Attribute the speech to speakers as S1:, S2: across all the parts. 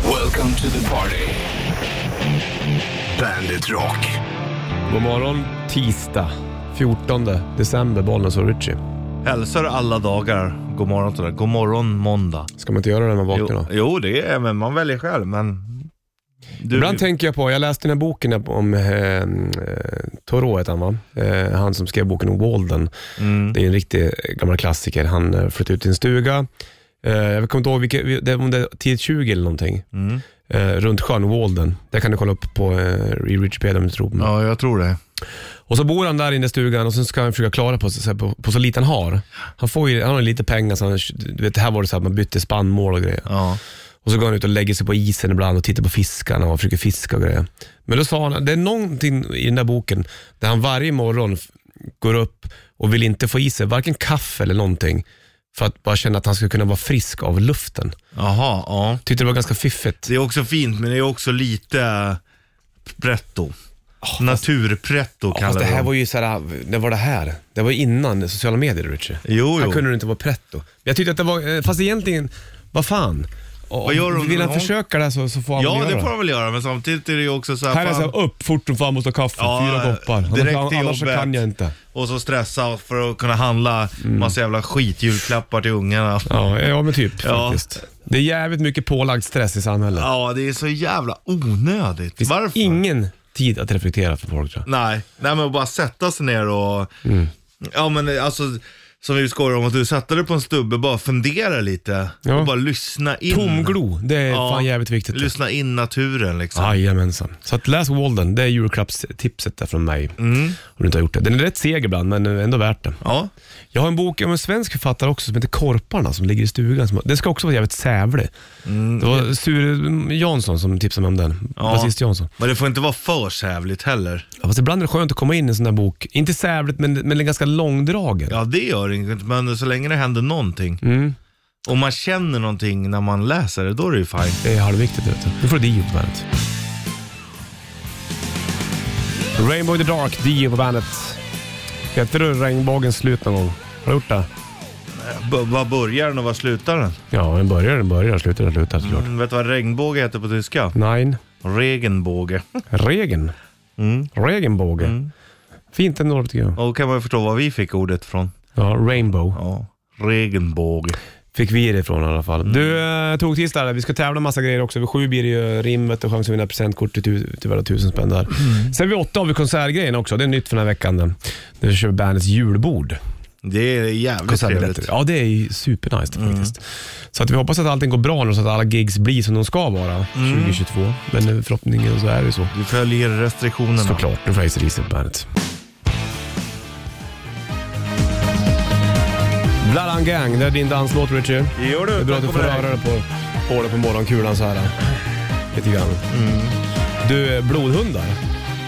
S1: Welcome to the party. Bandit Rock.
S2: God morgon tisdag 14 december, Bollnäs och Ritchie.
S3: Hälsar alla dagar god morgon till dig. God morgon måndag.
S2: Ska man inte göra det när man vaknar
S3: Jo,
S2: då?
S3: jo, det är men man väljer själv. Men du,
S2: Ibland tänker jag på, jag läste den här boken om eh, eh, Thoreau heter han va? Eh, han som skrev boken om Walden.
S3: mm,
S2: Det är en riktig eh, gammal klassiker. Han eh, flyttade ut till en stuga. Eh, jag kommer inte ihåg, vilket, vi- det, om det är 10-20 eller någonting.
S3: mm.
S2: Eh, runt sjön Walden. Det kan du kolla upp på eh, i Wikipedia om du tror på mig.
S3: Ja, jag tror det.
S2: Och så bor han där inne i stugan och sen ska han försöka klara på, så- så här, på, på så lite han har. Han, får ju, han har ju lite pengar, så han, du vet, här var det så att man bytte spannmål och grejer.
S3: Ja.
S2: Och så går han ut och lägger sig på isen ibland och tittar på fiskarna och försöker fiska och grejer. Men då sa han, det är någonting i den där boken där han varje morgon f- går upp och vill inte få i sig varken kaffe eller någonting för att bara känna att han ska kunna vara frisk av luften.
S3: Jaha, ja.
S2: Tyckte det var ganska fiffigt.
S3: Det är också fint, men det är också lite pretto. Naturpretto
S2: Ja, fast
S3: kallar
S2: det
S3: vi
S2: här
S3: dem.
S2: var ju så här, det var det här. Det var ju innan sociala medier, Richard.
S3: Jo,
S2: Här
S3: jo.
S2: kunde du inte vara pretto. Jag tyckte att det var, eh, fast egentligen, vad fan. Vad
S3: gör de?
S2: Vill han
S3: Hon-
S2: försöka det så, så får han
S3: Ja,
S2: väl
S3: det
S2: göra
S3: får man väl göra, men samtidigt är det ju också så här...
S2: Här är det
S3: fan-
S2: såhär, upp fort som fan måste ha kaffe,
S3: Ja,
S2: fyra koppar.
S3: direkt
S2: Annars,
S3: till
S2: annars så
S3: jobbet.
S2: kan jag inte. Mm.
S3: Och så stressa för att kunna handla massa jävla skitjulklappar till ungarna.
S2: Ja, ja men typ
S3: Ja.
S2: faktiskt. Det är jävligt mycket pålagd stress i samhället.
S3: Ja, det är så jävla onödigt.
S2: Det finns
S3: Varför?
S2: ingen tid att reflektera för folk tror jag.
S3: Nej, nej men bara sätta sig ner och...
S2: Mm.
S3: Ja men alltså, som vi skojar om, att du sätter dig på en stubbe, bara fundera lite.
S2: Ja.
S3: Och bara lyssna in.
S2: Tomglo, det är
S3: Mm. Ja.
S2: fan jävligt viktigt.
S3: Lyssna in naturen liksom.
S2: Jajamensan. Så att läs Walden, det är julklappstipset där från mig.
S3: Mm.
S2: Om du inte har gjort det. Den är rätt seg ibland, men ändå värt det.
S3: Ja.
S2: Jag har en bok om en svensk författare också som heter Korparna som ligger i stugan. Som- Den ska också vara jävligt sävlig. Det var Sture Jansson som tipsade mig om den.
S3: Mm. Ja.
S2: Basist Jansson.
S3: Men det får inte vara för sävligt heller.
S2: Ja, fast ibland är det skönt att komma in i en sån där bok. Inte sävligt, men, men den är ganska långdragen.
S3: Ja det gör inget, men så länge det händer någonting.
S2: Mm.
S3: Om man känner någonting när man läser det, då är det ju fint.
S2: Det är halvviktigt. Vet du. Nu får du Dio på bandet. Rainbow in the Dark, Dio på bandet. Heter du Regnbågens slut någon gång? Har du gjort det?
S3: B- vad börjar den och vad slutar den?
S2: Ja, den börjar, den börjar, slutar, den slutar såklart.
S3: Mm, vet du vad regnbåge heter på tyska?
S2: Nein.
S3: Regenbåge.
S2: Regen.
S3: Mm.
S2: Regenbåge.
S3: Mm.
S2: Fint ändå tycker jag.
S3: Och då kan man ju förstå var vi fick ordet från.
S2: Ja, Rainbow.
S3: Ja, regenbåge.
S2: Fick vi det ifrån i alla fall. Du, eh, tog tisdag där. Vi ska tävla massa grejer också. Vid sju blir det ju rimmet och chans att vinna presentkort till tu- till värda tusen spänn där. Sen vid åtta har vi konsertgrejen också. Det är nytt för den här veckan. den. Nu kör vi bandets julbord.
S3: Det är jävligt
S2: Konsertbiljetter.
S3: trevligt.
S2: Ja, det är ju supernice det, faktiskt. Så att vi hoppas att allting går bra nu så att alla gigs blir som de ska vara 2022. Men eh, förhoppningen så är det ju så.
S3: Du följer restriktionerna.
S2: Såklart, nu får jag Ice på bandet. Bladan Gang, det är din danslåt Richie.
S3: Gör du?
S2: Det är bra att du får röra dig på, på det på morgonkulan så här. Lite grann. Mm. Du, eh, blodhundar?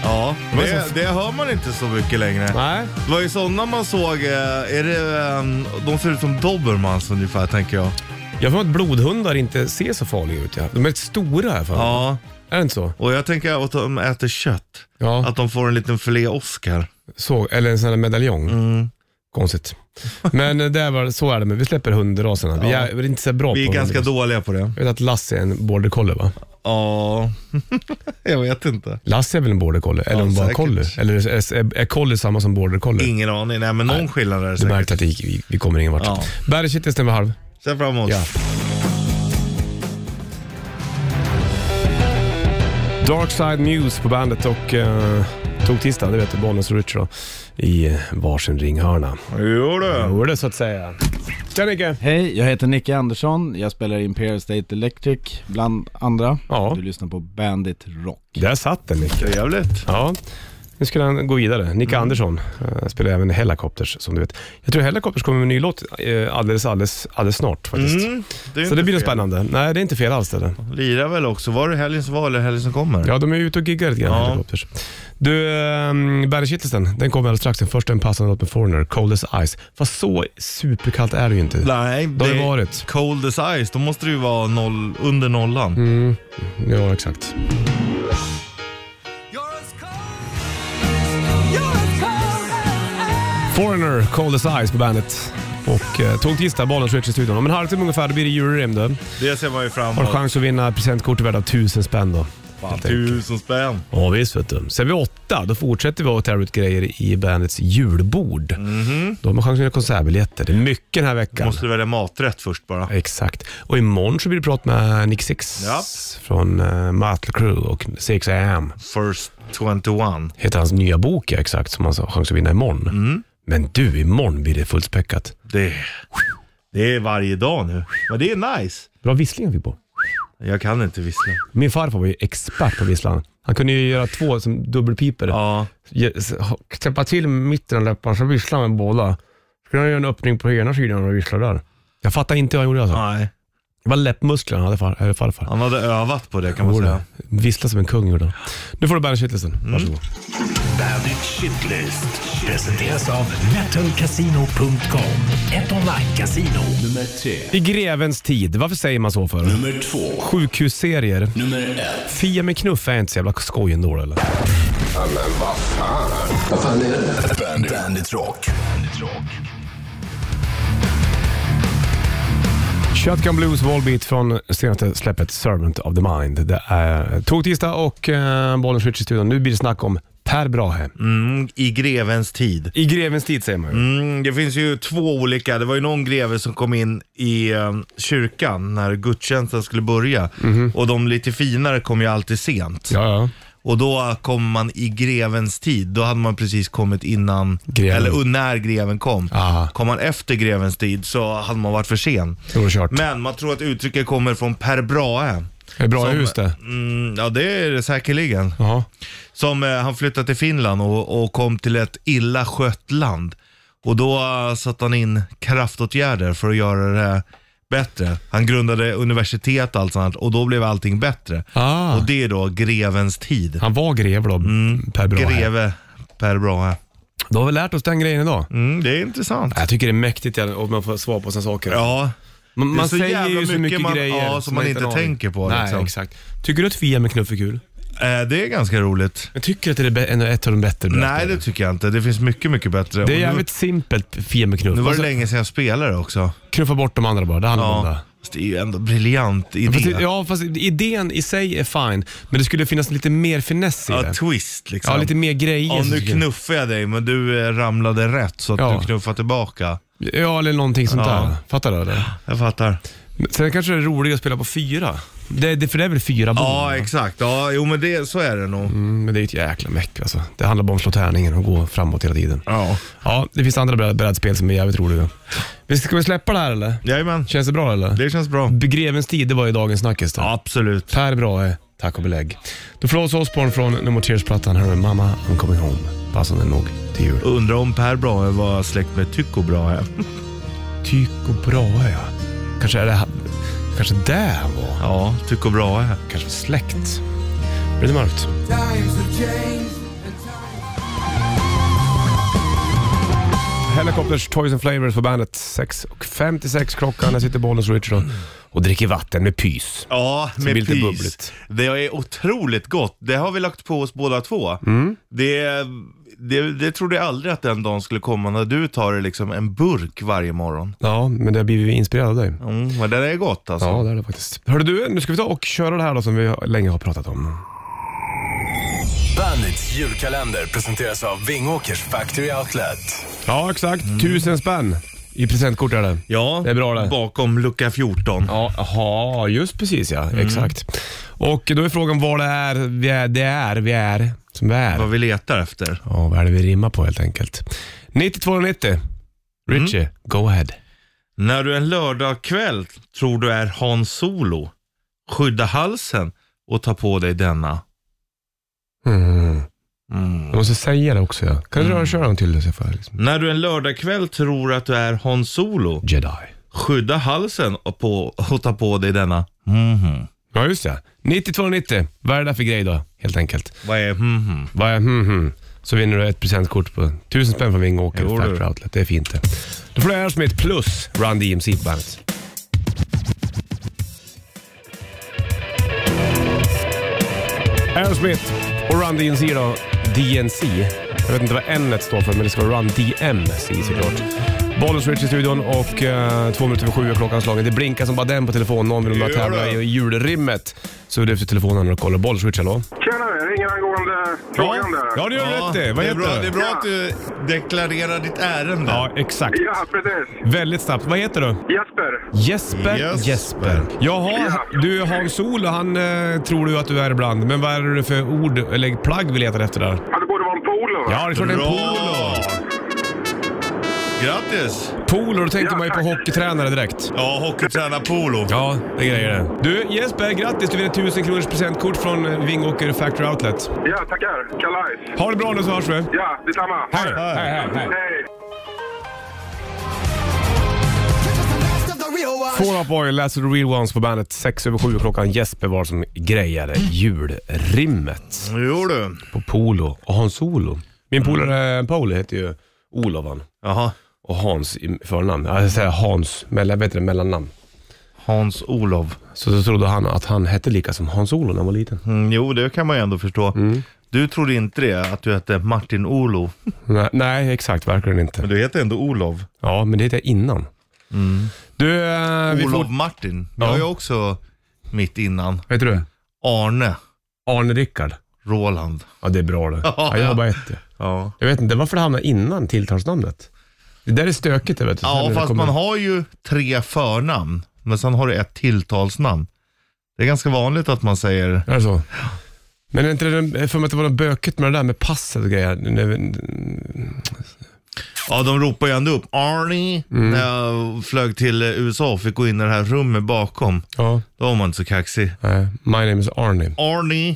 S3: Ja,
S2: var
S3: det,
S2: så-
S3: det hör man inte så mycket längre.
S2: Nej.
S3: Det var ju sådana man såg, eh, är det, eh, de ser ut som dobermans ungefär tänker jag.
S2: Jag får att blodhundar inte ser så farliga ut. Ja. De är rätt stora här för mig.
S3: Ja,
S2: Är det inte så?
S3: och jag tänker att de äter kött.
S2: Ja.
S3: Att de får en liten filé Oscar.
S2: Så, eller en sån här medaljong.
S3: Mm.
S2: Konstigt. Men eh, det är väl, så är det, men vi släpper hundraserna. Vi, är, vi är inte så bra
S3: Vi är
S2: på
S3: ganska
S2: hundar.
S3: dåliga på det.
S2: Jag vet att Lasse är en border collie va?
S3: Ja, jag vet inte.
S2: Lasse är väl en border collie? Eller
S3: Ja,
S2: om bara
S3: säkert.
S2: collie? Eller är, är, är collie samma som border collie?
S3: Ingen aning, nej men någon skillnad är det
S2: Du
S3: säkert.
S2: märkte att det gick, vi, vi kommer ingen vart. Ja.
S3: Ja.
S2: Bandet Shit är stämmer halv.
S3: Se fram emot.
S2: Ja. Dark Side Muse på bandet och eh, tog tisdag, det vet du, Bollnäs och Richard då, i eh, varsin ringhörna.
S3: Jo du.
S2: Då är det så att säga. Tja Nicke!
S4: Hej, jag heter Nicke Andersson, jag spelar i Imperial State Electric bland andra.
S2: Ja.
S4: Du lyssnar på Bandit Rock.
S2: Där satt den Nicke.
S3: Trevligt.
S2: Ja, nu skulle han gå vidare. Nick Andersson eh, spelar även Hellacopters som du vet. Jag tror Hellacopters kommer med en ny låt eh, alldeles, alldeles, alldeles snart faktiskt.
S3: Mm, det är
S2: Så det
S3: inte
S2: blir nog
S3: fel.
S2: spännande. Nej, det är inte fel alls. Det är det.
S3: Lirar väl också. Var det helgen som var eller helgen som kommer?
S2: Ja, de är ute och giggar lite grann,
S3: Ja.
S2: Hellacopters. Du, um, Bergkittelsen, den kommer alldeles strax. Den första en passande låt med Foreigner, Cold as Ice. Fast så superkallt är det ju inte.
S3: Nej,
S2: Det har det varit.
S3: Cold as ice, då måste det ju vara noll, under nollan.
S2: Mm, ja, exakt. Foreigner, Cold as Ice på bandet. Och eh, tog tisdag, bollen switch i studion. Om en halvtimme ungefär, då blir det Eurorim du.
S3: Det ser man ju fram
S2: Har du
S3: emot.
S2: chans att vinna presentkort värda 1000 spänn då.
S3: Fan, Tusen spänn.
S2: Ja visst vet du. Sen vid åtta, då fortsätter vi att tävla ut grejer i bandets julbord. Då har man chans att vinna konsertbiljetter. Det är mycket den här veckan.
S3: Måste du välja maträtt först bara.
S2: Exakt. Och imorgon så blir det prat med Nick Six
S3: Ja.
S2: från uh, Mötley Crüe och 6AM.
S3: First 21.
S2: Heter hans nya bok ja, exakt, som han har chans att vinna imorgon. Men du, imorgon blir det fullspäckat.
S3: Det, det är varje dag nu. Men det är nice.
S2: Bra vissling han fick på.
S3: Jag kan inte vissla.
S2: Min farfar var ju expert på visslan. Han kunde ju göra två som dubbelpiper.
S3: Ja,
S2: Ge- s- ha- Täppa till mitten av läpparna, så vissla med båda. Så kunde han göra en öppning på ena sidan och vissla där. Jag fattar inte hur han gjorde alltså.
S3: nej.
S2: Det var läppmusklerna han hade far, eller farfar.
S3: Han hade övat på det kan man säga. Mm.
S2: Vissla som en kung gjorde han. Nu får du bära shitlisten. Varsågod.
S1: Bandit Shitlist presenteras av metalcasino.com. Ett online-casino.
S5: Nummer tre.
S2: I grevens tid, varför säger man så för?
S5: Nummer två.
S2: Sjukhusserier.
S5: Nummer ett.
S2: Fia med knuff är inte så jävla skoj ändå eller?
S5: Bandit, Bandit Rock. Bandit Rock.
S2: Shotgun Blues Wallbeat från senaste släppet Servant of the Mind. Det är tog tisdag och eh, bollen switch i studion. Nu blir det snack om Per Brahe.
S3: Mm, I grevens tid.
S2: I grevens tid säger man ju.
S3: Mm, det finns ju två olika. Det var ju någon greve som kom in i eh, kyrkan när gudstjänsten skulle börja.
S2: Mhm.
S3: Och de lite finare kom ju alltid sent.
S2: Ja, ja.
S3: Och då kom man i grevens tid. Då hade man precis kommit innan,
S2: Greven.
S3: eller när greven kom.
S2: Aha.
S3: Kom man efter grevens tid så hade man varit för sen.
S2: Då var det kört.
S3: Men man tror att uttrycket kommer från Per Brahe.
S2: Är det bra
S3: Som-
S2: hus det?
S3: Mm, ja, det är det säkerligen.
S2: Jaha.
S3: Som eh, han flyttade till Finland och, och kom till ett illa skött land. Och då eh, satte han in kraftåtgärder för att göra det bättre. Han grundade universitet och allt sånt och då blev allting bättre.
S2: Ah.
S3: Och det är då grevens tid.
S2: Han var greve då,
S3: Mm.
S2: Per Brahe.
S3: Greve Per Brahe.
S2: Då har vi lärt oss den grejen idag.
S3: Mm, det är intressant.
S2: Jag tycker det är mäktigt ja, om man får svar på sina saker.
S3: Ja,
S2: Man, man
S3: så
S2: säger
S3: jävla
S2: ju så
S3: mycket
S2: mycket
S3: man-
S2: grejer
S3: ja, som man
S2: har
S3: inte
S2: en aning.
S3: tänker på,
S2: Nej,
S3: liksom.
S2: exakt. Tycker du att Fia med knuff är kul?
S3: eh, det är ganska roligt.
S2: Jag tycker att det är be- en- ett av de bättre
S3: Nej, det tycker jag inte. Det finns mycket, mycket bättre.
S2: Det är
S3: Och
S2: jävligt simpelt Fia med knuff.
S3: Nu, nu var det
S2: Alltså,
S3: länge sedan jag spelade också.
S2: Knuffa bort de andra bara, det handlar om det.
S3: Ja. Fast Det är ju ändå en briljant idé.
S2: Fast, ja, fast idén i sig är fin, men det skulle finnas lite mer finess i
S3: Ja,
S2: det.
S3: twist liksom.
S2: Ja, lite mer grejer.
S3: Ja,
S2: som
S3: nu
S2: skulle-
S3: knuffade jag dig, men du eh, ramlade rätt så att
S2: Ja.
S3: du knuffade tillbaka.
S2: ja eller någonting sånt
S3: Ja.
S2: där. Fattar du? Det?
S3: Jag fattar.
S2: Men Sen kanske det är roligare att spela på fyra. Det, det, för det är väl fyra bord?
S3: Ja, exakt. Ja, jo men det, så är det nog.
S2: Mm, men det är ju ett jäkla meck alltså. Det handlar bara om att slå tärningen och gå framåt hela tiden.
S3: Ja.
S2: Ja, det finns andra bräd- brädspel som är jävligt roliga. Vi- Ska vi släppa det här eller?
S3: Jajamän,
S2: Känns det bra eller?
S3: det känns bra.
S2: Grevens tid, det var ju dagens snackis då.
S3: Absolut.
S2: Per Brahe, eh, tack och belägg. Du får låsa Osborn från No Tears-plattan. Här är Mamma I'm Coming Home. Passande nog till jul.
S3: Undrar om Per Brahe var släkt med Tycho Brahe.
S2: Tycho Brahe ja. Kanske är det han- kanske där han var.
S3: Ja, Tycho Brahe.
S2: Kanske släkt. Blir det mörkt? Helicopters, Toys and Flavors på bandet. 6.56 klockan. Här sitter Bollens Richard och- och dricker vatten med pys.
S3: Ja, med
S2: blir lite
S3: pys.
S2: bubbligt.
S3: Det är otroligt gott. Det har vi lagt på oss båda två. Det, det, det trodde jag aldrig att den dagen skulle komma när du tar det liksom en burk varje morgon.
S2: Ja, men det har blivit inspirerad av dig.
S3: Mm, men det är gott alltså.
S2: Ja, det är det faktiskt. Hörru du, nu ska vi ta och köra det här då som vi länge har pratat om.
S5: Bandits julkalender presenteras av Vingåkers Factory Outlet.
S2: Ja, exakt. Mm. Tusen spänn i presentkort är det.
S3: Ja,
S2: Det är bra det.
S3: bakom lucka 14.
S2: Ja, aha, just precis ja. Exakt. Och då är frågan vad det är vi är, det är, vi är, som vi
S3: Vad
S2: är.
S3: vi letar efter.
S2: Ja, vad är det vi rimmar på helt enkelt. 9290. Richie, go ahead.
S3: När du en lördagkväll tror du är Hans Solo, skydda halsen och ta på dig denna.
S2: Mm.
S3: Mm.
S2: Jag måste säga det också ja. Kan du dra och köra en till då, så jag får liksom.
S3: När du en lördagkväll tror att du är Hans Solo,
S2: Jedi.
S3: skydda halsen och, på, och ta på dig denna. Mhm.
S2: Ja, just det. 9290. Vad är det där för grej då, helt enkelt?
S3: Vad är mhm?
S2: Vad är hmm, hmm. Så vinner du ett presentkort på 1000 spänn från Vingåker
S3: Jo, du.
S2: Factory Outlet. Det är fint det. Då får du här som ett plus, Run DMC på bandet. Aerosmith och Run DMC då, DNC. Jag vet inte vad N står för, men det ska vara Run DMC såklart. Bollens Rich i studion och eh, två minuter över sju är klockan slagen. Det blinkar som bara den på telefonen. Någon vill vara
S3: Gör
S2: tävla
S3: det.
S2: i julrimmet. Så är det efter telefonen och kollar. Bollens Rich, hallå?
S6: Tjena, jag ringer angående frågan där.
S2: Ja, det gör du rätt i. Vad
S3: det,
S2: heter
S3: är bra, det är
S2: du?
S3: bra att du deklarerar ditt ärende.
S2: Ja, exakt.
S6: Ja, precis.
S2: Väldigt snabbt. Vad heter du?
S6: Jesper.
S2: Jesper
S3: Jesper.
S2: Jaha,
S6: Ja.
S2: du är Hans Ol och han eh, tror du att du är ibland. Men vad är det för ord eller plagg vi letar efter där?
S6: Ja, det borde vara en polo. va?
S2: Ja, det är klart det är en
S3: Bra!
S2: polo.
S3: Grattis!
S2: Polo, då tänker
S6: Ja,
S2: man ju på
S6: tack.
S2: hockeytränare direkt.
S3: Ja, hockeytränarpolo.
S2: Ja, det är grejer det. Du Jesper, grattis! Du vinner 1000 kronors presentkort från eh, Vingåker Factory Outlet.
S6: Ja, tackar. Kalajs.
S2: Ha det bra nu så hörs vi.
S6: Ja, detsamma.
S2: Hej! Hej, hej, hej.
S6: Hej.
S2: Four Up Oil, Last of the Real Ones på bandet. Sex över sju klockan. Jesper var som grejade julrimmet
S3: Jo du.
S2: på Polo och Hans Olo. Min
S3: Mm.
S2: polare eh, Pauli heter ju Olof han.
S3: Jaha.
S2: och Hans i förnamn. Ja, Jag säger Hans, mellan, vet du, det, mellannamn.
S3: Hans-Olov.
S2: Så då trodde han att han hette lika som Hans-Olof när han var liten.
S3: Mm, jo, det kan man ju ändå förstå. Du trodde inte det, att du hette Martin Olov.
S2: Nej, nej exakt, verkligen inte.
S3: Men du heter ändå Olov.
S2: Ja, men det hette jag innan.
S3: Mm.
S2: Du, eh, vi
S3: Olov
S2: får...
S3: Martin.
S2: Ja.
S3: Jag är också mitt innan.
S2: Vad heter du?
S3: Arne
S2: Arne Rickard.
S3: Roland.
S2: Ja, det är bra det. Ja, jag har bara ett.
S3: Ja,
S2: Jag vet inte varför det hamnar innan tilltalsnamnet. Det där är stökigt det vet du. Sen när
S3: ja
S2: det
S3: fast
S2: kommer-
S3: man har ju tre förnamn, men sen har du ett tilltalsnamn. Det är ganska vanligt att man säger
S2: Är det så? Men är inte det, jag får mig att det var något bökigt med det där med passet och grejer. Nu-
S3: Ja, de ropar ju ändå upp Arnie när jag flög till eh, USA och fick gå in i det här rummet bakom.
S2: Ja,
S3: Då var man inte så kaxig.
S2: nej. Eh, my name is Arne.
S3: Arnie.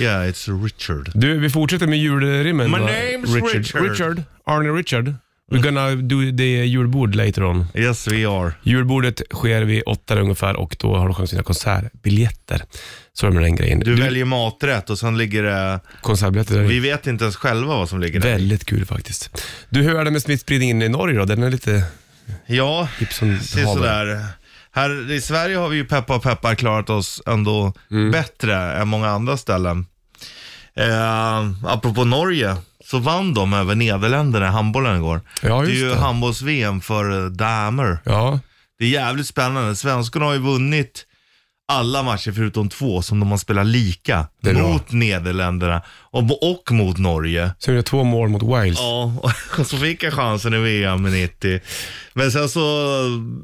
S3: Yeah, it's Richard.
S2: Du, vi fortsätter med julrimmen.
S3: My
S2: va?
S3: name's Richard.
S2: Richard. Arne Richard. We're gonna do the julbord later on.
S3: Yes, we are.
S2: Julbordet sker vid åtta ungefär och då har du chans att vinna konsertbiljetter. Så är det med den grejen.
S3: Du, väljer maträtt och sen ligger det...
S2: konsertbiljetter. där.
S3: Vi vet inte ens själva vad som ligger där.
S2: Väldigt kul faktiskt. Du, hur är det med smittspridningen i Norge då? Den är lite
S3: Ja,
S2: hipp som
S3: se
S2: havet.
S3: sådär. Här i Sverige har vi ju peppa och peppar klarat oss ändå
S2: Mm.
S3: bättre än många andra ställen. Eh, apropå Norge, så vann de över Nederländerna i handbollen igår.
S2: Ja,
S3: det är
S2: just
S3: ju
S2: det.
S3: handbolls-VM för eh, damer.
S2: Ja,
S3: Det är jävligt spännande. Svenskarna har ju vunnit alla matcher förutom två som de har spelat lika
S2: är bra.
S3: mot Nederländerna och, och mot Norge.
S2: så är det två mål mot Wales.
S3: Ja, och så fick jag chansen i VM i 90. Men sen så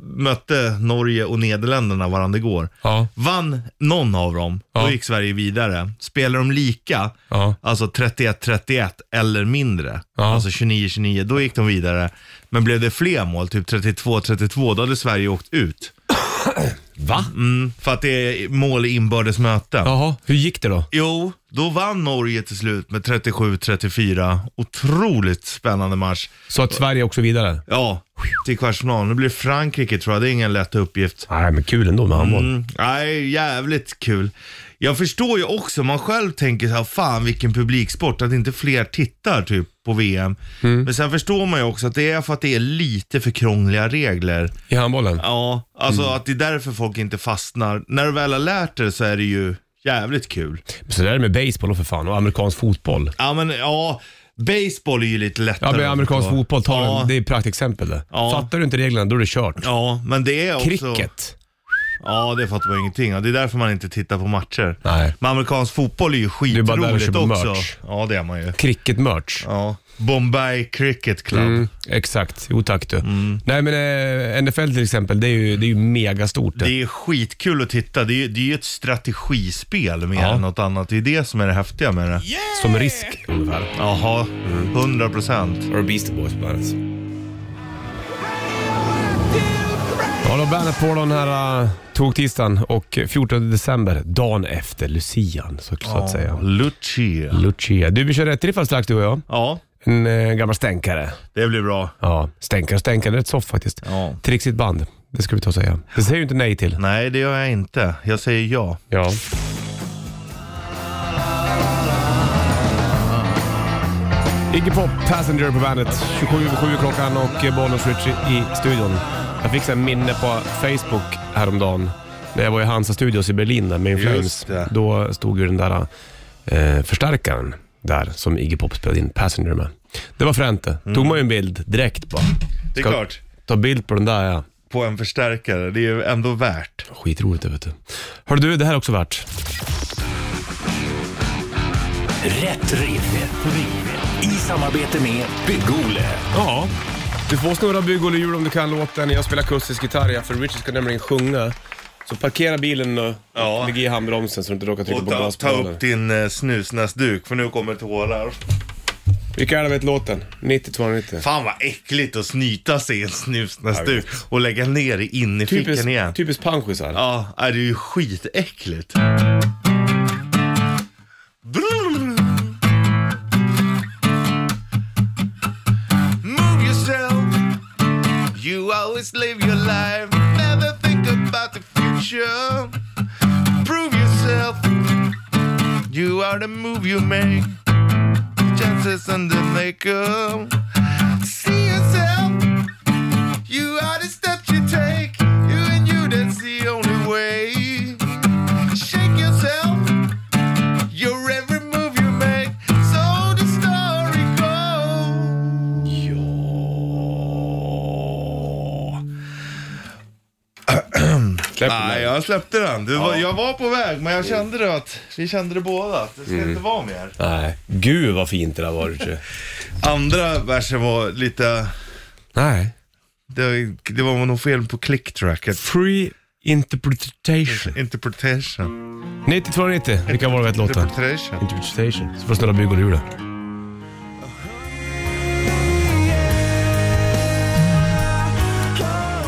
S3: mötte Norge och Nederländerna varandra igår.
S2: Ja.
S3: Vann någon av dem,
S2: Ja.
S3: då gick Sverige vidare. Spelar de lika,
S2: Ja.
S3: alltså 31-31 eller mindre,
S2: Ja.
S3: alltså 29-29, då gick de vidare. Men blev det fler mål, typ 32-32, då hade Sverige åkt ut.
S2: Va?
S3: Mm, för att det är mål i inbördes möten.
S2: Jaha, hur gick det då?
S3: Jo, då vann Norge till slut med 37-34. Otroligt spännande match.
S2: Så att Sverige också vidare?
S3: Ja, till kvartsfinal. Nu blir Frankrike tror jag. Det är ingen lätt uppgift.
S2: Nej, men kul ändå med handboll.
S3: Mm, nej, jävligt kul. Jag förstår ju också, man själv tänker så här, fan vilken publiksport, att inte fler tittar typ på VM. Men sen förstår man ju också att det är för att det är lite för krångliga regler.
S2: I handbollen?
S3: Ja, alltså att det är därför folk inte fastnar. När du väl har lärt dig så är det ju jävligt kul.
S2: Så där är det med baseball och för fan, och amerikansk fotboll.
S3: Ja, men ja, baseball är ju lite lättare.
S2: Ja, men amerikansk
S3: att förstå.
S2: fotboll, tar
S3: ja,
S2: den, det är ett praktexempel det.
S3: Ja.
S2: Fattar du inte reglerna, då är det kört.
S3: Ja, men det är också...
S2: Cricket.
S3: Ja, det fattar man ingenting av. Det är därför man inte tittar på matcher.
S2: Nej.
S3: Men amerikansk fotboll är ju
S2: är bara där och
S3: skitroligt
S2: köper
S3: också.
S2: merch.
S3: Ja, det är man ju.
S2: Cricket-merch.
S3: Ja. Bombay Cricket Club.
S2: Mm, exakt, jo tack du.
S3: Mm.
S2: Nej men eh, NFL till exempel, det är ju, det är ju megastort. eh, Det.
S3: Det är skitkul att titta. Det är ju det är ju ett strategispel mer
S2: Ja.
S3: än något annat. Det är det som är det häftiga med det.
S2: Som risk ungefär.
S3: Jaha, 100 procent.
S2: Or Beastie Boys på bandet. Ja, då bandet på den här uh, tog-tisdagen och 14 december, dagen efter Lucian så, så att säga.
S3: Lucia.
S2: Lucia. Du, vi kör rätt riff alldeles strax du och jag.
S3: Ja,
S2: En eh, gammal stänkare.
S3: det blir bra.
S2: Ja, stänkare och stänkare, rätt soft faktiskt.
S3: Ja.
S2: Trixigt band, det ska vi ta och säga. Det säger ju inte nej till.
S3: Nej, det gör jag inte. Jag säger ja.
S2: Ja. Iggy Pop, Passenger på bandet. 27.07 klockan och Bollnäs Richie i studion. Jag fick så här minne på Facebook häromdagen när jag var i Hansa Studios i Berlin där med In
S3: Just
S2: Flames.
S3: det.
S2: Då stod ju den där eh, förstärkaren där som Iggy Pop spelade in Passenger med. Det var fränt det. Tog man ju en bild direkt bara.
S3: Mm. Det är
S2: Ska-
S3: klart.
S2: Ta bild på den där ja.
S3: på en förstärkare. Det är ju ändå värt.
S2: Skitroligt det vet du. Hör du, det här är också värt.
S1: Rätt riff. I samarbete med Bygg-Ole.
S2: Ja. Du får snurra bygg om du kan låten. Jag spelar akustisk gitarr ja, för Richard ska nämligen sjunga. Så parkera bilen nu.
S3: Ja.
S2: Lägg i handbromsen så du inte råkar trycka
S3: Och
S2: på
S3: ta, ta
S2: gaspedalen.
S3: upp din eh, snusnäsduk för nu kommer tårar.
S2: Vilka är det vet låten? 90 290.
S3: Fan vad äckligt att snyta sig i en snusnäsduk och lägga ner det in i
S2: Typiskt
S3: fickan igen.
S2: typisk panschisar.
S3: Ja, är det är ju skitäckligt. Move yourself. You always live your life. Never think about the future. Prove yourself. You are the move you make. Chances and the maker. See yourself. You are the steps you take. You and you, that's the only way. Shake yourself. Your every move you make. So the story goes. Ja.
S2: Släpp den
S3: Nej,
S2: där.
S3: jag släppte den. Du, var- Jag var på väg, men jag kände det att vi kände det båda. att Det ska inte vara mer.
S2: Nej. Gud vad fint det där var Richard.
S3: Andra versen var lite...
S2: Nej.
S3: Det, det var nog fel på clicktracket.
S2: Free interpretation.
S3: Interpretation.
S2: 90 290. Vilka var det vet låten?
S3: Interpretation.
S2: Interpretation. Så får du snurra bygg ur det.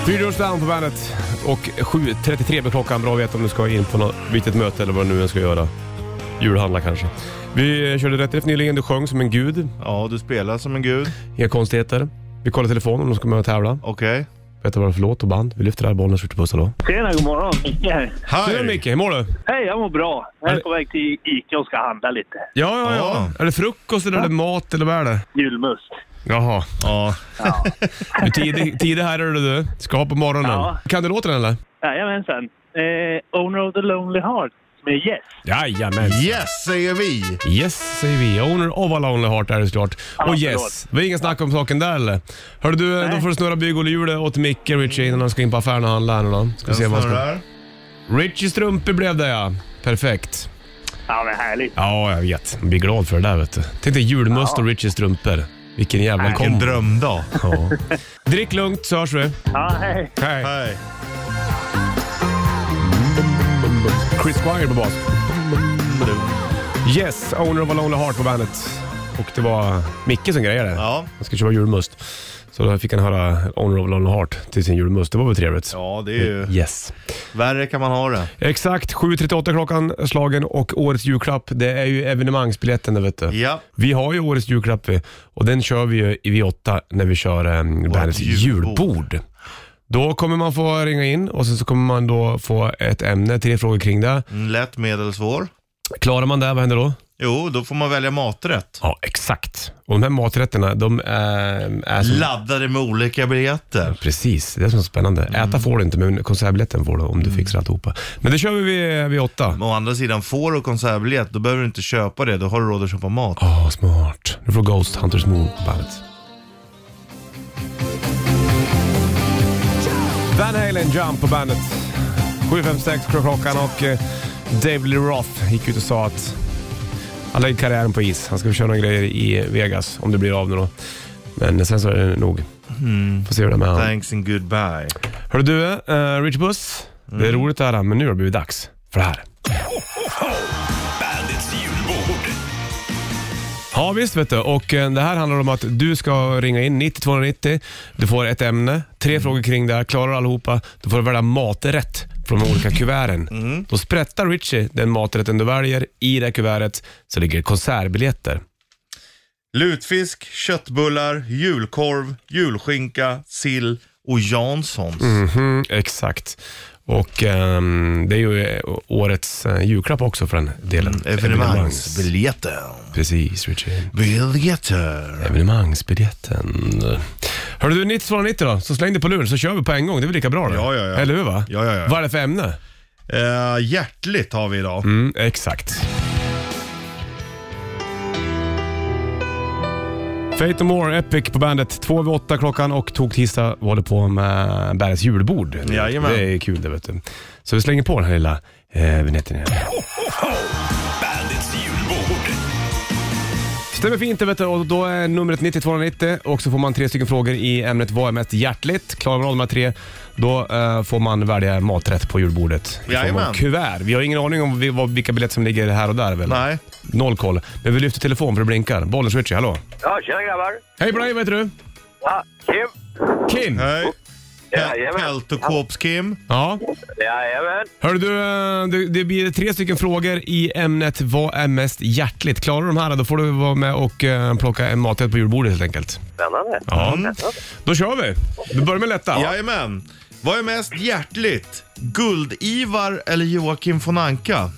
S2: Fyra års down på bandet och 7.33 blir klockan. Bra att veta om du ska in på något viktigt möte eller vad du nu än ska göra. Julhandla kanske. Vi körde rätt riff nyligen. Du sjöng som en gud.
S3: Ja, du spelar som en gud.
S2: Inga konstigheter. Vi kollar telefonen om de ska med och tävla.
S3: Okej.
S2: Berätta vad det är för låt och band. Vi lyfter här bollen och skjuter puss. Hallå.
S7: Tjena, god morgon. Micke här.
S2: Tjena Micke, hur mår du?
S7: Hej, jag mår bra. Jag är
S2: Hej.
S7: på väg till Ica och ska handla lite.
S2: Ja, ja, ja. Är det frukost eller är det mat eller vad är det?
S7: Julmust.
S2: Jaha.
S3: Ja.
S2: Du är tidig, tidig här är du du. Ska ha på morgonen.
S7: Ja.
S2: Kan du låten eller?
S7: Jajamensan. Eh, Owner of the Lonely Heart med Yes.
S2: Jajamän.
S3: Yes, säger vi.
S2: Yes säger vi. Owner of a lonely heart är det såklart. Och
S7: förlåt.
S2: yes. Det är ingen snack om saken där eller? Hörru du, då får du snurra bygghjulet åt Micke Richie innan han ska in på affären och handla här nu då. Ska vi se vad han ska...
S3: Snurrar.
S2: Richie strumpor blev det ja. Perfekt.
S7: Ja, men härligt.
S2: Ja, jag vet. Man blir glad för det där vet du. Tänk dig julmust och Richies strumpor. Vilken jävla
S3: Vilken
S2: kombo.
S3: drömdag.
S2: Ja. Drick lugnt så hörs vi.
S7: Ja, hej.
S2: Hej.
S3: Hej.
S2: Chris Squire på bas. Yes, Owner of a Lonely Heart på bandet. Och det var Micke som grejade.
S3: Ja.
S2: Han ska köpa julmust. Så då fick han höra Owner of a Lonely Heart till sin julmust. Det var väl trevligt?
S3: ja, det är ju...
S2: Yes.
S3: Värre kan man ha det.
S2: Exakt, 7.38 klockan slagen och årets julklapp, det är ju evenemangsbiljetten det vet du.
S3: Ja.
S2: Vi har ju årets julklapp vi, och den kör vi ju i V8 när vi kör um, bandets
S3: julbord.
S2: julbord. Då kommer man få ringa in och sen så kommer man då få ett ämne, tre frågor kring det.
S3: Mm, Lätt, medel, svår.
S2: Klarar man det, vad händer då?
S3: Jo, då får man välja maträtt.
S2: Ja, exakt. Och de här maträtterna, de är... är som,
S3: Laddade med olika biljetter.
S2: precis, det är som är spännande. Äta får du inte, men konsertbiljetten får du om du fixar alltihopa. Men det kör vi vid, vid åtta.
S3: Men Å andra sidan, får du konsertbiljett, då behöver du inte köpa det. Då har du råd att köpa mat.
S2: Åh, Ah, smart. Nu får Ghost Hunters Moon på bandet. Van Halen Jump på bandet. 7.56 klockan och eh, David Lee Roth gick ut och sa att han lägger karriären på is. Han ska köra några grejer i Vegas, om det blir av nu då. Men sen så är det nog. Får se hur Mm. det är med honom.
S3: Thanks and goodbye.
S2: Hörru du, uh, Rich Buss. Det är roligt det här, men nu har det blivit dags för det här.
S1: Bandits julbord.
S2: Ja visst vet du. Och eh, det här handlar om att du ska ringa in 9290. Du får ett ämne, tre frågor kring det. här. Klarar du allihopa, då får du välja maträtt från de olika kuverten. Då sprättar Richie den maträtten du väljer. I det här kuvertet så ligger det konsertbiljetter.
S3: Lutfisk, köttbullar, julkorv, julskinka, sill och Janssons.
S2: Mhm, exakt. Och ehm, det är ju eh, årets eh, julklapp också för den delen.
S3: Mm,
S2: Evenemangs-
S3: Evenemangsbiljetter.
S2: Precis Richie.
S3: Biljetter.
S2: Evenemangsbiljetten. Hörru du, 9290 då, så släng dig på luren så kör vi på en gång. Det är väl lika bra då?
S3: Ja, ja, ja.
S2: Eller hur va?
S3: Ja, ja, ja.
S2: Vad är det för ämne?
S3: Eh, hjärtligt har vi idag.
S2: Mm, exakt. Fate No More, Epic på bandet. Två över åtta klockan och tog tisdag var det på med Bärets julbord.
S3: Jajamän.
S2: Det är kul det vet du. Så vi slänger på den här lilla eh, vinjetten igen.
S1: Bandits julbord.
S2: Stämmer fint det vet du och då är numret 9290 och så får man tre stycken frågor i ämnet Vad är mest hjärtligt? Klarar man av de här tre, då eh, får man välja maträtt på julbordet. i form av
S3: Jajamän.
S2: Kuvert. Vi har ingen aning om vi, vad, vilka biljetter som ligger här och där väl?
S3: Nej.
S2: Noll koll. Men vi lyfter telefon för det blinkar. Bollen switchar, hallå?
S8: Ja, tjena grabbar.
S2: Hej Brian, vad heter du?
S8: Ja, Kim.
S2: Kim.
S3: Hej.
S8: Jajamän.
S3: Tält och kåps-Kim.
S2: Ja.
S8: Jajamän.
S2: Hörru du, eh, det, det blir tre stycken frågor i ämnet Vad är mest hjärtligt? Klarar du de här då får du vara med och eh, plocka en maträtt på julbordet helt enkelt.
S8: Spännande.
S2: Ja. Då kör vi. Vi börjar med lätta.
S3: Mm. Jajamän. Vad är mest hjärtligt? Guld-Ivar eller Joakim von Anka?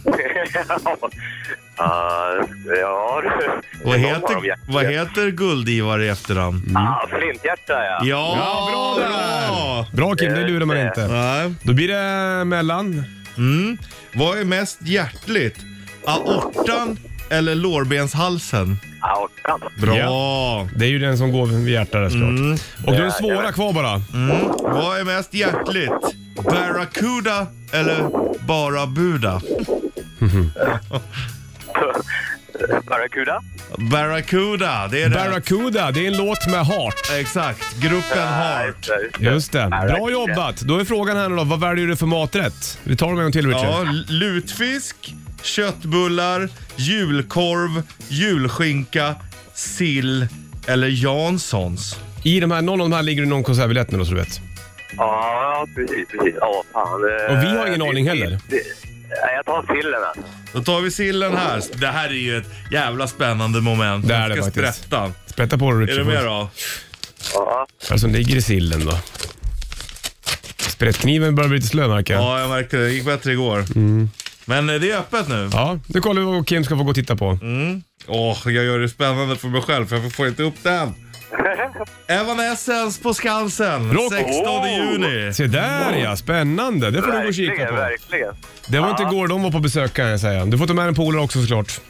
S8: Ja, ja du.
S3: Vad
S8: Det är någon av dem, ja.
S3: heter, vad heter Guld-Ivar i efternamn?
S8: Ah, flinthjärta ja.
S3: Ja,
S2: bra där! Bra Kim, det lurar man inte.
S3: Nej.
S2: Då blir det mellan.
S3: Mm. Vad är mest hjärtligt? Aortan eller lårbenshalsen?
S8: Aortan.
S3: Bra!
S2: Det är ju den som går vid hjärtat såklart.
S3: Mm.
S2: Och då är det svåra kvar bara.
S3: Vad är mest hjärtligt? Barracuda eller bara Buda?
S8: Barracuda.
S3: Barracuda, det är det.
S2: Barracuda, det är en låt med heart.
S3: Exakt, gruppen Heart.
S2: Just det. Bra jobbat. Då är frågan här nu då, vad väljer du för maträtt? Vi tar dem en gång till
S3: Ja,
S2: Richard.
S3: lutfisk, köttbullar, julkorv, julskinka, sill eller Janssons.
S2: I de här, någon av de här ligger det någon konsertbiljett nu då så du vet.
S8: Ja, precis, precis. Ja, fan. eh,
S2: Och vi har ingen aning heller.
S8: det- Nej, Jag tar sillen alltså.
S3: Då tar vi sillen här. Det här är ju ett jävla spännande moment.
S2: Det är
S3: Vi
S2: det
S3: ska
S2: faktiskt.
S3: sprätta.
S2: Sprätta på dig
S3: Är
S2: Richard.
S3: du med då?
S8: Ja.
S2: Vad är det som ligger i sillen då? Sprättkniven börjar bli lite slö märker jag.
S3: Ja, jag märkte det. Det gick bättre igår.
S2: Mm.
S3: Men eh, det är öppet nu.
S2: Ja, nu kollar vi vad Kim ska få gå och titta på.
S3: Åh, jag gör det spännande för mig själv för jag får inte upp den. Evanescence på Skansen
S2: Rock.
S3: 16 juni.
S2: Se där ja, spännande. Det får du gå och kika
S8: Verkligen,
S2: på.
S8: verkligen.
S2: Det var inte igår de var på besök kan jag säga. Du får ta med en polare också såklart.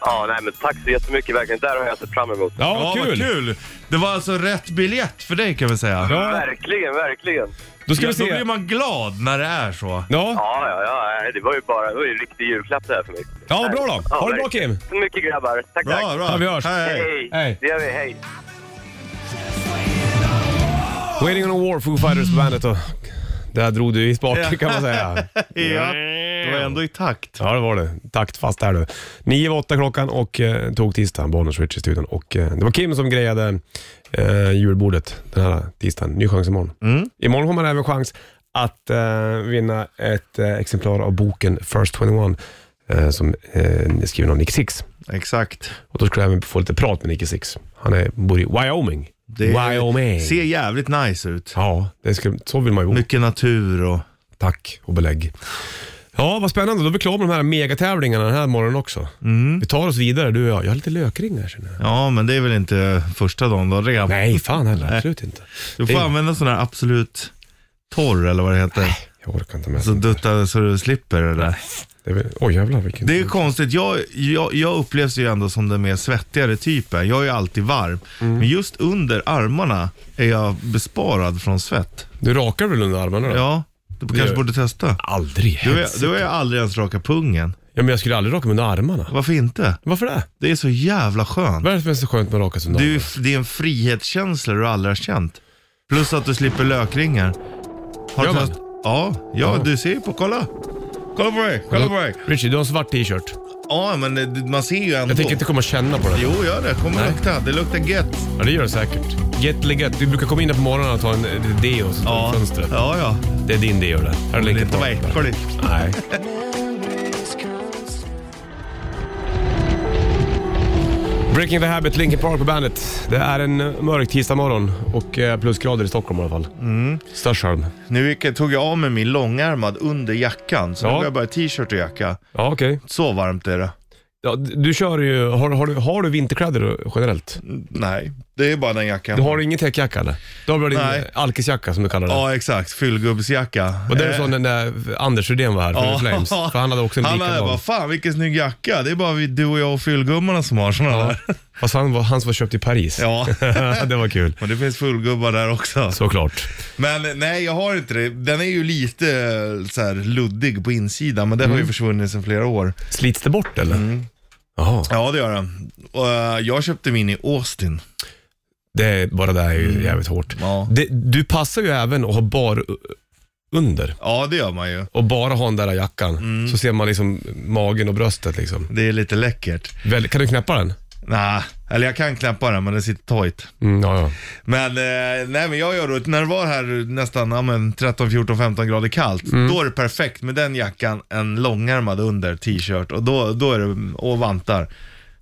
S8: Ja, nej men tack så jättemycket verkligen. Där har jag sett fram emot.
S2: Ja,
S3: Ja,
S2: vad
S3: vad
S2: kul.
S3: kul! Det var alltså rätt biljett för dig kan vi säga.
S2: Ja.
S8: Verkligen, verkligen.
S2: Då ska
S3: Ja,
S2: vi
S3: då blir
S2: se.
S3: man glad när det är så.
S2: Ja,
S8: Ja, ja, ja. nej, Det var ju bara det var ju en riktig julklapp det här för mig.
S2: ja bra då.
S8: Ja,
S2: Ha det bra
S8: verkligen.
S2: Kim.
S8: Tack så mycket grabbar. Tack,
S3: Bra,
S8: tack.
S3: bra.
S2: Ja, vi hörs.
S3: Hej.
S8: Hej.
S2: Hej.
S8: Det gör vi, hej.
S2: Waiting on a war, Foo Fighters på bandet och där drog du i spaken kan man säga.
S3: Mm. Ja, det var ändå i takt.
S2: Ja, det var det. Takt fast där du. 9 var 8 klockan och eh, tog tisdagen, Bonus Rich i studion. Och, eh, det var Kim som grejade eh, julbordet den här tisdagen. Ny chans imorgon.
S3: Mm.
S2: Imorgon har man även chans att eh, vinna ett eh, exemplar av boken First 21 eh, som eh, är skriven av Nick Six.
S3: Exakt.
S2: Och då skulle jag även få lite prat med Nick Six. Han är, bor i Wyoming.
S3: Det
S2: Wyoming.
S3: ser jävligt nice ut.
S2: Ja, det skulle, så vill man ju bo.
S3: Mycket natur och...
S2: Tack och belägg. Ja, vad spännande. Då är vi klara med de här megatävlingarna den här morgonen också.
S3: Mm.
S2: Vi tar oss vidare, du och jag. Jag har lite lökringar känner jag.
S3: Ja, men det är väl inte första dagen då? Redan.
S2: Nej, fan heller. Absolut inte.
S3: Du får
S2: det-
S3: använda sån här absolut torr eller vad det heter.
S2: Jag orkar inte med
S3: Så
S2: sånt där.
S3: dutta så du slipper det där.
S2: Det är väl- Oj jävlar vilken...
S3: Det är konstigt, jag, jag, jag upplevs ju ändå som den mer svettigare typen. Jag är ju alltid varm.
S2: Mm.
S3: Men just under armarna är jag besparad från svett.
S2: Du rakar väl under armarna då?
S3: Ja, du
S2: gör-
S3: kanske borde testa.
S2: Aldrig.
S3: Du
S2: hets.
S3: är, du är aldrig ens raka pungen.
S2: Ja, men jag skulle aldrig raka mig under armarna.
S3: Varför inte?
S2: Varför det?
S3: Det är så jävla skönt.
S2: Vad är det som är så skönt med att raka sig under
S3: Det är, ju
S2: armarna?
S3: f- det är en frihetskänsla du aldrig har känt. Plus att du slipper lökringar. Har
S2: Gör
S3: du
S2: man?
S3: testat? Ja, ja,
S2: Ja.
S3: du ser ju på, kolla. Kolla på dig, kolla på dig.
S2: Richie, du har en svart t-shirt.
S3: Ja, men det, man ser ju ändå.
S2: Jag tänker inte komma och känna på det.
S3: Jo, gör det. Kommer
S2: Nej.
S3: lukta. Det luktar gött.
S2: Ja, det gör det säkert. Get legit. Du brukar komma in här på morgonen och ta en eh, deo och så tar
S3: Ja,
S2: du fönstret.
S3: ja, ja.
S2: Det är din deo det. Här är
S3: Det är
S2: länken
S3: inte
S2: på.
S3: vad äckligt.
S2: Nej. Breaking the Habit, Linkin Park på bandet. Det är en mörk tisdagmorgon och eh, plusgrader i Stockholm i alla fall. Mm. Störshölm.
S3: Nu gick jag, tog jag av mig min långärmad under jackan, så
S2: Ja.
S3: nu har jag bara t-shirt och jacka.
S2: Ja, okej.
S3: Så varmt är det.
S2: Ja, d- du kör ju, har, har, du, har du vinterkläder generellt?
S3: Mm, Nej, Det är bara den jackan.
S2: Du har ingen täckjacka eller? Du har bara din
S3: Nej.
S2: eh, alkisjacka som du kallar den.
S3: Ja, exakt. Fyllgubbsjacka.
S2: Och det är
S3: Eh,
S2: som den där Anders Rydén var här för
S3: ja.
S2: Flames. För han hade också en
S3: Han
S2: likadan.
S3: hade bara, fan vilken snygg jacka. Det är bara vi, du och jag och fyllgummarna som har sådana
S2: Ja.
S3: där.
S2: Fast han var, hans var köpt i Paris.
S3: Ja.
S2: det var kul.
S3: Men det finns fullgubbar där också.
S2: Såklart.
S3: Men nej, jag har inte det. Den är ju lite eh, så här luddig på insidan, men den
S2: Mm.
S3: har ju försvunnit sedan flera år.
S2: Slits det bort eller?
S3: Mm.
S2: Jaha.
S3: Ja, det gör den. Och, eh, jag köpte min i Austin.
S2: Det är, bara det är ju jävligt hårt.
S3: Mm. Ja.
S2: Det, du passar ju även att ha bar u- under
S3: Ja, det gör man ju.
S2: och bara ha den där jackan.
S3: Mm.
S2: Så ser man liksom magen och bröstet liksom.
S3: Det är lite läckert.
S2: Väl, kan du knäppa den?
S3: Nej, eller jag kan knäppa den, men den sitter tight.
S2: Mm, ja, ja.
S3: Men, eh, nej, men jag gör det. När det var här nästan ja, men 13, 14, 15 grader kallt, då är det perfekt med den jackan, en långärmad under t-shirt och, då, då är det, och vantar.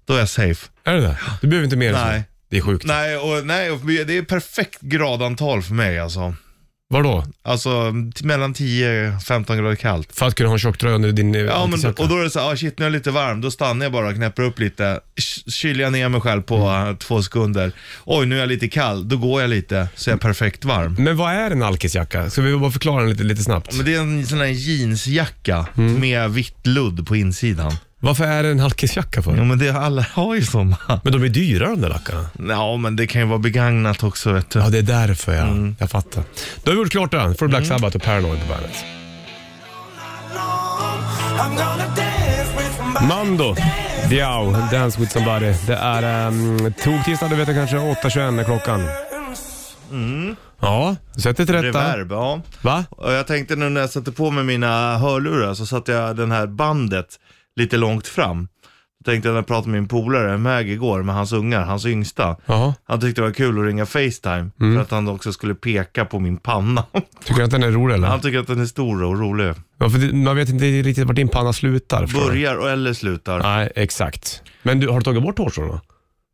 S3: Då är jag safe.
S2: Är det det? Du behöver inte mer än så.
S3: Nej.
S2: Det är sjukt.
S3: Nej, och, nej och det är perfekt gradantal för mig alltså.
S2: Vadå?
S3: Alltså t- mellan 10-15 grader kallt.
S2: För att kunna ha en tjocktröja under din eh,
S3: Ja,
S2: ja,
S3: men, och då är det så här, ah, shit nu är jag lite varm, då stannar jag bara och knäpper upp lite, Sh- kyler jag ner mig själv på
S2: Mm.
S3: eh, två sekunder. Oj, nu är jag lite kall, då går jag lite så jag är perfekt varm.
S2: men vad är en alkisjacka? Ska vi bara förklara den lite, lite snabbt?
S3: Men det är en sån här jeansjacka
S2: Mm.
S3: med vitt ludd på insidan.
S2: Varför är det en alkisjacka för?
S3: Ja men det alla har ju sådana.
S2: Men de är dyra de där rackarna.
S3: Ja men det kan ju vara begagnat också vet du.
S2: Ja, det är därför ja.
S3: Mm.
S2: Jag fattar. Då har vi gjort klart den. Får Black Sabbath och Paranoid på bandet. Mando, Diao, Dance with somebody. Det är um, tog tisdag, du vet jag kanske, 8.21 är klockan. Ja, sätt dig till rätta.
S3: Mm. Reverb, ja.
S2: Va?
S3: Och jag tänkte nu när jag satte på mig mina hörlurar så satte jag den här bandet lite långt fram. Då tänkte jag när jag pratade med min polare Mag igår med hans ungar, hans yngsta.
S2: Jaha.
S3: Han tyckte det var kul att ringa Facetime
S2: Mm.
S3: för att han också skulle peka på min panna.
S2: Tycker du att den är rolig eller?
S3: Han tycker att den är stor och rolig.
S2: Ja, för det- man vet inte riktigt vart din panna slutar. förstår du?
S3: Börjar och eller slutar.
S2: Nej, exakt. Men du, har du tagit bort hårstråna?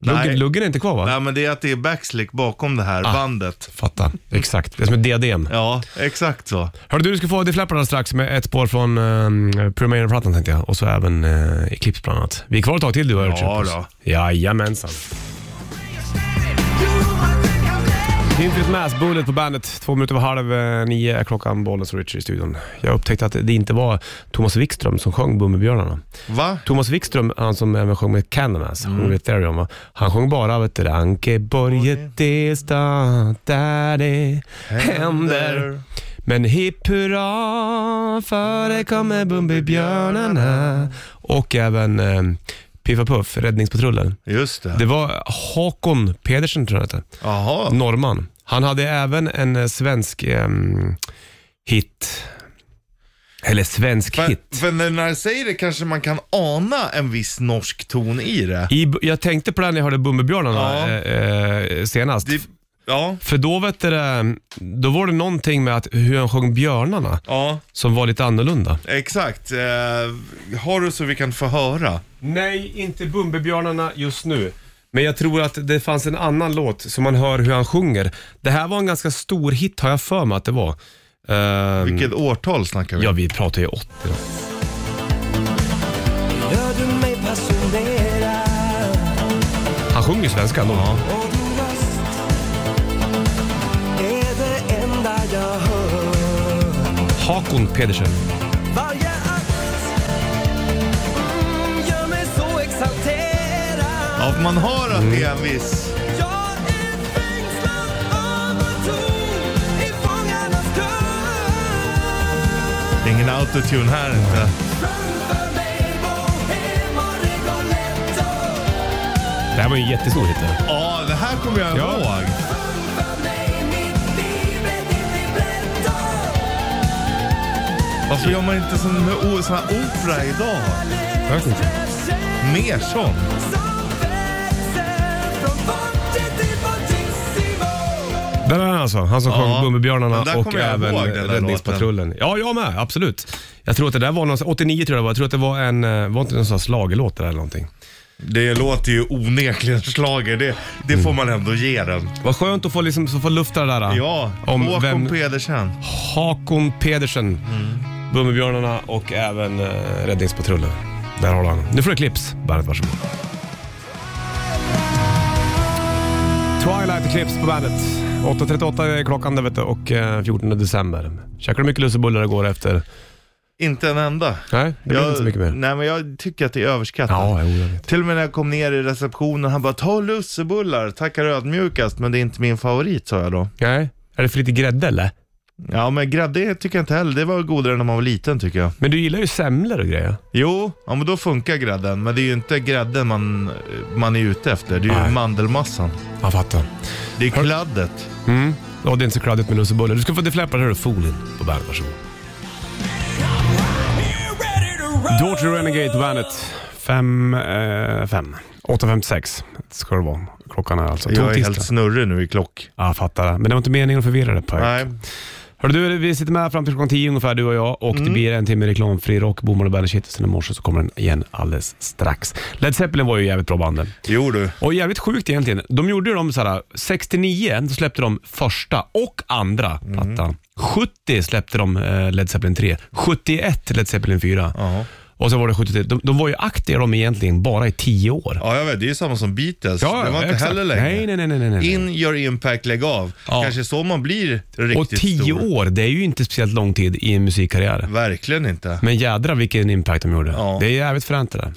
S2: Luggen,
S3: Nej.
S2: luggen är inte kvar va?
S3: Nej men det är att det är backslick bakom det
S2: Ah.
S3: här bandet.
S2: Fatta. Exakt. Det är som ett diadem.
S3: Ja, exakt så.
S2: Hörru du, du ska få The Flapper alldeles strax med ett spår från uh, Primera-plattan tänkte jag. Och så även uh, Eclipse bland annat. Vi är kvar ett tag till du och Richard
S3: Ja,
S2: Puss.
S3: då.
S2: Jajamensan. Infrit Mass, Bullet på bandet. Två minuter över halv eh, nio är klockan, Bollnäs och Richard i studion. Jag upptäckte att det inte var Thomas Wikström som sjöng Bumbibjörnarna.
S3: Va?
S2: Thomas Wikström, han som även sjöng med Candlemass, mm. sjöng med Ethereum, va? han sjöng bara vet du, Ankeborg Gäddestad, där det händer. Men hipp hurra, för det kommer Bumbibjörnarna. Och även eh, Piff och Puff, Räddningspatrullen.
S3: Just det.
S2: Det var Hakon Pedersen tror jag det hette,
S3: Jaha.
S2: norrman. Han hade även en eh, svensk eh, hit. Eller svensk
S3: För,
S2: hit.
S3: för när jag säger det kanske man kan ana en viss norsk ton i det.
S2: I, jag tänkte på det här när jag hörde Bumbibjörnarna
S3: Ja.
S2: eh, eh, senast.
S3: det ja,
S2: För då, vet du, det, då var det någonting med att hur han sjöng björnarna
S3: ja,
S2: som var lite annorlunda.
S3: exakt. Eh, har du så vi kan få höra?
S2: Nej, inte Bumbibjörnarna just nu. Men jag tror att det fanns en annan låt som man hör hur han sjunger. Det här var en ganska stor hit har jag för mig att det var. Ehm,
S3: Vilket årtal snackar vi?
S2: Ja, vi pratar ju 80 då. Han sjunger svenska ändå. Hakon Pedersen.
S3: Ja, för man hör att det är en viss... Det är ingen autotune här inte.
S2: Det här var ju en jättestor hit. det.
S3: Ja, det här kommer jag
S2: Ja.
S3: ihåg. Varför gör man inte sån, o- sån här opera idag?
S2: Jag vet inte.
S3: Mer sån.
S2: Där är han alltså. Han som
S3: Ja.
S2: sjöng Bumbibjörnarna
S3: Den där
S2: och
S3: kommer jag
S2: även
S3: ihåg, den där
S2: Räddningspatrullen. Ja, jag med. Absolut. Jag tror att det där var någonstans, 89 tror jag det var. Jag tror att det var en, eh, var inte det någon sån här schlagerlåt där eller någonting.
S3: Det låter ju onekligen slager. Det, det får man ändå ge den.
S2: Vad skönt att få, liksom, så få lufta det där.
S3: Ja,
S2: om
S3: Håkon Mm.
S2: vem,
S3: Pedersen.
S2: Hakon Pedersen, Bumbibjörnarna och även eh, Räddningspatrullen. Där har du honom. Nu får du Eclipse. Bandet, varsågod. Twilight Eclipse på bandet. 8.38 är klockan där vet du, och eh, 14 december. Käkade du mycket lussebullar igår efter?
S3: Inte en enda.
S2: Nej, det blev inte så mycket mer.
S3: Nej, men jag tycker att det är överskattat.
S2: Ja, jo, jag vet.
S3: Till och med när jag kom ner i receptionen, han bara ta lussebullar, tackar ödmjukast, men det är inte min favorit sa jag då.
S2: Nej. Är det för lite grädde eller?
S3: Ja men grädde tycker jag inte heller, det var godare när man var liten tycker jag.
S2: Men du gillar ju semlor och grejer.
S3: Jo, ja men då funkar grädden, men det är ju inte grädden man, man är ute efter, det är ju
S2: Nej.
S3: mandelmassan.
S2: Jag fattar.
S3: Det är kladdet.
S2: Mm. Ja, det är inte så kladdigt med lussebullar. Du ska få defläppar här och folin på bandet. Varsågod. Daughter Renegade Vanet. 5, eh, fem. 8.56 ska det vara. Klockan är alltså.
S3: Jag är
S2: Tog
S3: helt
S2: tisdag.
S3: snurrig nu i klock.
S2: Ja, jag fattar. Men det var inte meningen att förvirra dig Per.
S3: Nej,
S2: Hörru du, vi sitter med här fram till klockan 10 ungefär du och jag och det blir en timme reklamfri rock, bommar och bandet sen i morse så kommer den igen alldeles strax. Led Zeppelin var ju jävligt bra banden.
S3: jo du.
S2: Och jävligt sjukt egentligen. De gjorde ju de såhär, 69 då släppte de första och andra
S3: Mm.
S2: plattan. 70 släppte de eh, Led Zeppelin 3. 71 Led Zeppelin 4.
S3: Ja.
S2: Och så var det 73. De, de var ju aktiva de egentligen bara i 10 år.
S3: Ja, jag vet. Det är ju samma som Beatles. det var inte
S2: exakt.
S3: heller länge.
S2: Nej, nej, nej. nej, nej, nej.
S3: In, gör impact, lägg av.
S2: Ja.
S3: Kanske så man blir riktigt
S2: och 10
S3: stor.
S2: år, det är ju inte speciellt lång tid i en musikkarriär.
S3: Verkligen inte.
S2: Men jädra vilken impact de gjorde.
S3: Ja.
S2: Det är jävligt fränt det där.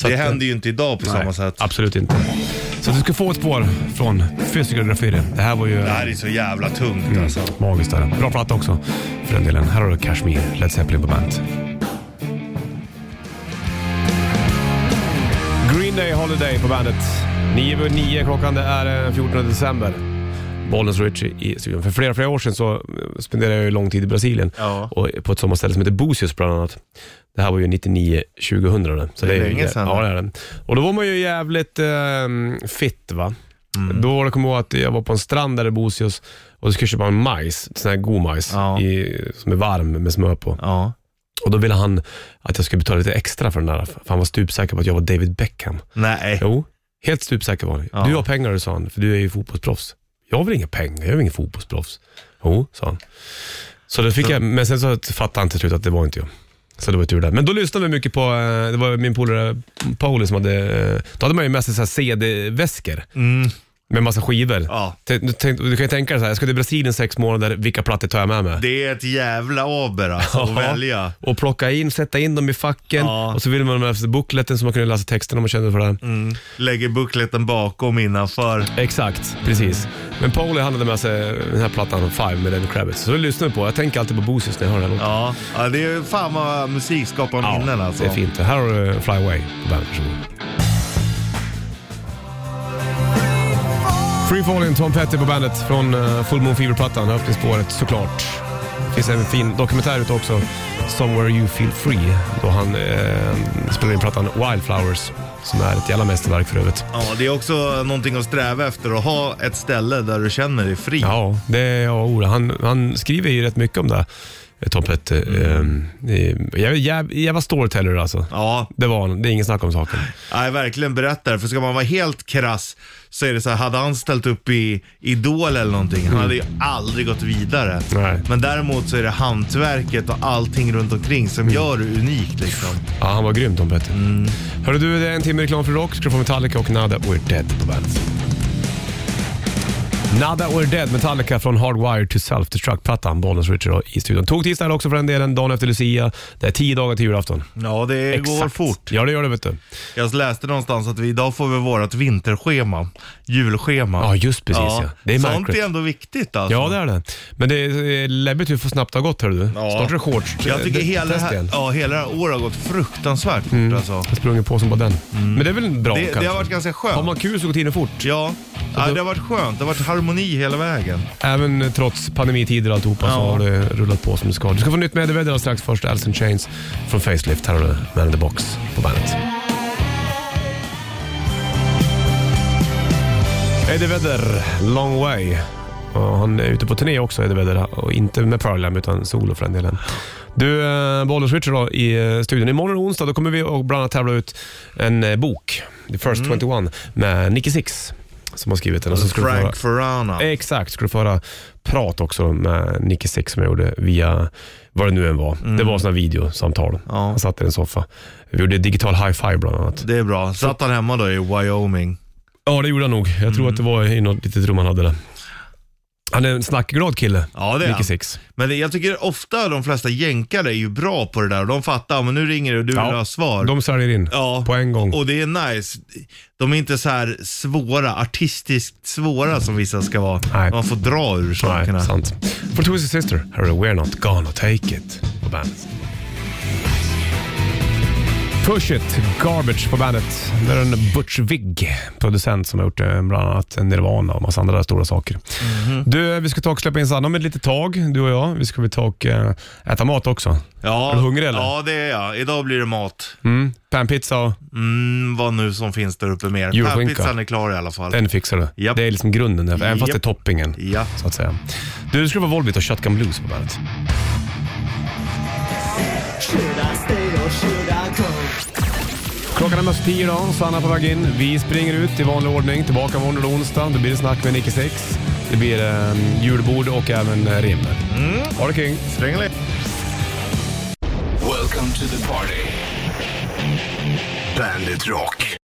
S2: Så
S3: det
S2: att, eh,
S3: händer ju inte idag på samma
S2: nej,
S3: sätt.
S2: Absolut inte. Så du ska få ett spår från Physical Graffiti. Det här var ju...
S3: Det här är så jävla tungt
S2: Mm.
S3: alltså.
S2: Magiskt är det. Bra platta också för den delen. Här har du Kashmir, Led Zeppelin på bandet. Green Day Holiday på bandet. 9 över 9 klockan, det är eh, 14 december. Bollnäs och Richie i studion. För flera, flera år sedan så eh, spenderade jag ju lång tid i Brasilien
S3: Ja.
S2: och på ett sommarställe som heter Búzios bland annat. Det här var ju 99-2000 det. Så
S3: Det är
S2: ju-
S3: länge sedan.
S2: Ja, det är det. Och då var man ju jävligt eh, fitt va.
S3: Mm.
S2: Då var det, kommer jag ihåg att jag var på en strand där i Bosios och då skulle jag köpa en majs, sån här god majs,
S3: Ja.
S2: i, som är varm med smör på.
S3: Ja.
S2: Och då ville han att jag skulle betala lite extra för den där, för han var stupsäker på att jag var David Beckham.
S3: Nej.
S2: Jo, helt stupsäker var han.
S3: Ja.
S2: Du har pengar, sa han, för du är ju fotbollsproffs. Jag vill inga pengar, jag är ingen fotbollsproffs. Jo, sa han. Så det fick jag, men sen så fattade han till slut att det var inte jag. Så det var tur där. Men då lyssnade vi mycket på, eh, det var min polare Pauli som hade, eh, då hade man ju med sig så här CD-väskor
S3: Mm.
S2: med massa skivor.
S3: Ja.
S2: Tänk- Du, tänk, du kan ju tänka dig så här, jag ska till Brasilien sex månader, vilka plattor tar jag med mig?
S3: Det är ett jävla aber alltså,
S2: Ja.
S3: att välja.
S2: Och plocka in, sätta in dem i facken
S3: Ja.
S2: och så ville man med sig bookleten så man kunde läsa texten om man kände för det.
S3: Mm. Lägger bukleten bakom innanför.
S2: Exakt, precis. Men Pauli han hade med sig den här plattan Five med Lenny Kravitz. Så det lyssnar vi på. Jag tänker alltid på Boosies när jag hör den här låten.
S3: Ja. ja, det är fan vad musik skapar minnen alltså.
S2: det är fint. Här har du eh, Fly Away på bandet. Varsågod. Free Falling, Tom Petty på bandet från eh, Full Moon Fever-plattan, öppningsspåret såklart. Det finns en fin dokumentär ute också, Somewhere You Feel Free, då han eh, spelar in plattan Wildflowers, som är ett jävla mästerverk för övrigt.
S3: Ja, det är också någonting att sträva efter, att ha ett ställe där du känner dig fri.
S2: Ja, det är ja, Ola. Han, han skriver ju rätt mycket om det, eh, Tom Petty. Mm. Jävla, jävla, jävla storyteller alltså.
S3: Ja,
S2: Det var han, det är ingen snack om saken.
S3: Nej, verkligen berättar. För ska man vara helt krass så är det så här, hade han ställt upp i Idol eller någonting, han hade ju aldrig gått vidare.
S2: Mm. Nej.
S3: Men däremot så är det hantverket och allting runt omkring som
S2: Mm.
S3: gör det unikt liksom.
S2: Ja, han var grym Tom Petty.
S3: Mm.
S2: Hörru du, det är en timme reklam för rock. Ska du få Metallica och Nada We're Dead på bandet. Nada We're Dead, Metallica från Hardwired to Self-Destruct-plattan. Bollens Richard i studion. Tog tisdag också för den delen, dagen efter Lucia. Det är tio dagar till julafton.
S3: Ja, det går fort.
S2: Ja, det gör det vet du.
S3: Jag läste någonstans att vi idag får vi vårt vinterschema, julschema.
S2: Ja, just precis, ja. Det är
S3: Sånt
S2: märkligt.
S3: är ändå viktigt alltså.
S2: Ja, det är det. Men det är läbbigt hur snabbt det har gått hörru du.
S3: Ja.
S2: Startar du shorts?
S3: Jag tycker
S2: Det-
S3: hela det,
S2: test
S3: här,
S2: igen. Mm.
S3: ja, hela det här året har gått fruktansvärt fort alltså.
S2: Jag sprungit på som bara den. Men det är väl bra
S3: Mm. Det,
S2: kanske?
S3: det har varit ganska skönt.
S2: Har man kul så går tiden fort.
S3: Ja, ja, det har varit skönt. Det har varit harmoni hela vägen.
S2: Även trots pandemitider och alltihopa så
S3: Ja.
S2: har det rullat på som det ska. Du ska få nytt medieväder alldeles strax. Först Alice in Chains från Facelift. Här har du Man in the Box på bandet. Eddie Vedder, Long Way. Och han är ute på turné också, Eddie Vedder. Och inte med Pearl Jam, utan solo för den delen. Du, eh, Bollnäs Richard då, i eh, studion. Imorgon och onsdag då kommer vi och bland annat tävla ut en eh, bok, The First
S3: Mm.
S2: 21, med Nicky Six som har skrivit den. Och så ska Eh. du få höra-
S3: Frank Ferrana.
S2: Exakt, skulle få höra prat också med Nicky Six som jag gjorde via vad det nu än var. Det var sådana videosamtal.
S3: Mm. Ja.
S2: Han satt i en soffa. Vi gjorde digital high-five bland annat.
S3: Det är bra. Satt han hemma då i Wyoming?
S2: Ja, det gjorde han nog. Jag tror att det
S3: Mm.
S2: var i något litet rum han hade det. Han är en snackglad kille,
S3: Ja, det är han.
S2: Micke Six.
S3: Men det- jag tycker ofta de flesta jänkare är ju bra på det där. De fattar, men nu ringer det och du vill ha svar.
S2: De säljer in
S3: Ja,
S2: på en gång.
S3: Och det är nice. De är inte så här svåra, artistiskt svåra som vissa ska vara.
S2: Nej.
S3: Man får dra ur sakerna.
S2: Nej, sant. For Twisted Sister, här är We're Not Gonna Take It på bandet. Push It, Garbage på bandet. Det är en Butch Vig, producent som har gjort eh, bland annat Nirvana och massa andra stora saker.
S3: Mhm.
S2: Du, eh, vi ska ta och släppa in Sanna om ett litet tag, du och jag. Vi ska väl ta och eh, äta mat också.
S3: Ja,
S2: Är du hungrig eller?
S3: Ja, det är jag. Idag blir det mat.
S2: Mm, panpizza och
S3: Mm, vad nu som finns där uppe mer.
S2: Julskinka.
S3: Pärlpizzan är klar i alla fall.
S2: den fixar du.
S3: Japp.
S2: Det är liksom grunden, där, även fast det är
S3: Japp.
S2: toppingen.
S3: Ja.
S2: Så att säga. Du, det skulle vara Volbeat och Shotgun Blues på bandet. Klockan är mest tio idag, Sanna på väg in. Vi springer ut i vanlig ordning, tillbaka imorgon eller onsdag. Det blir det snack med Nicky Six. Det blir eh, julbord och även eh, rim. Ha det kring.
S3: Stränglig.
S5: Welcome to the party.
S1: Bandit Rock.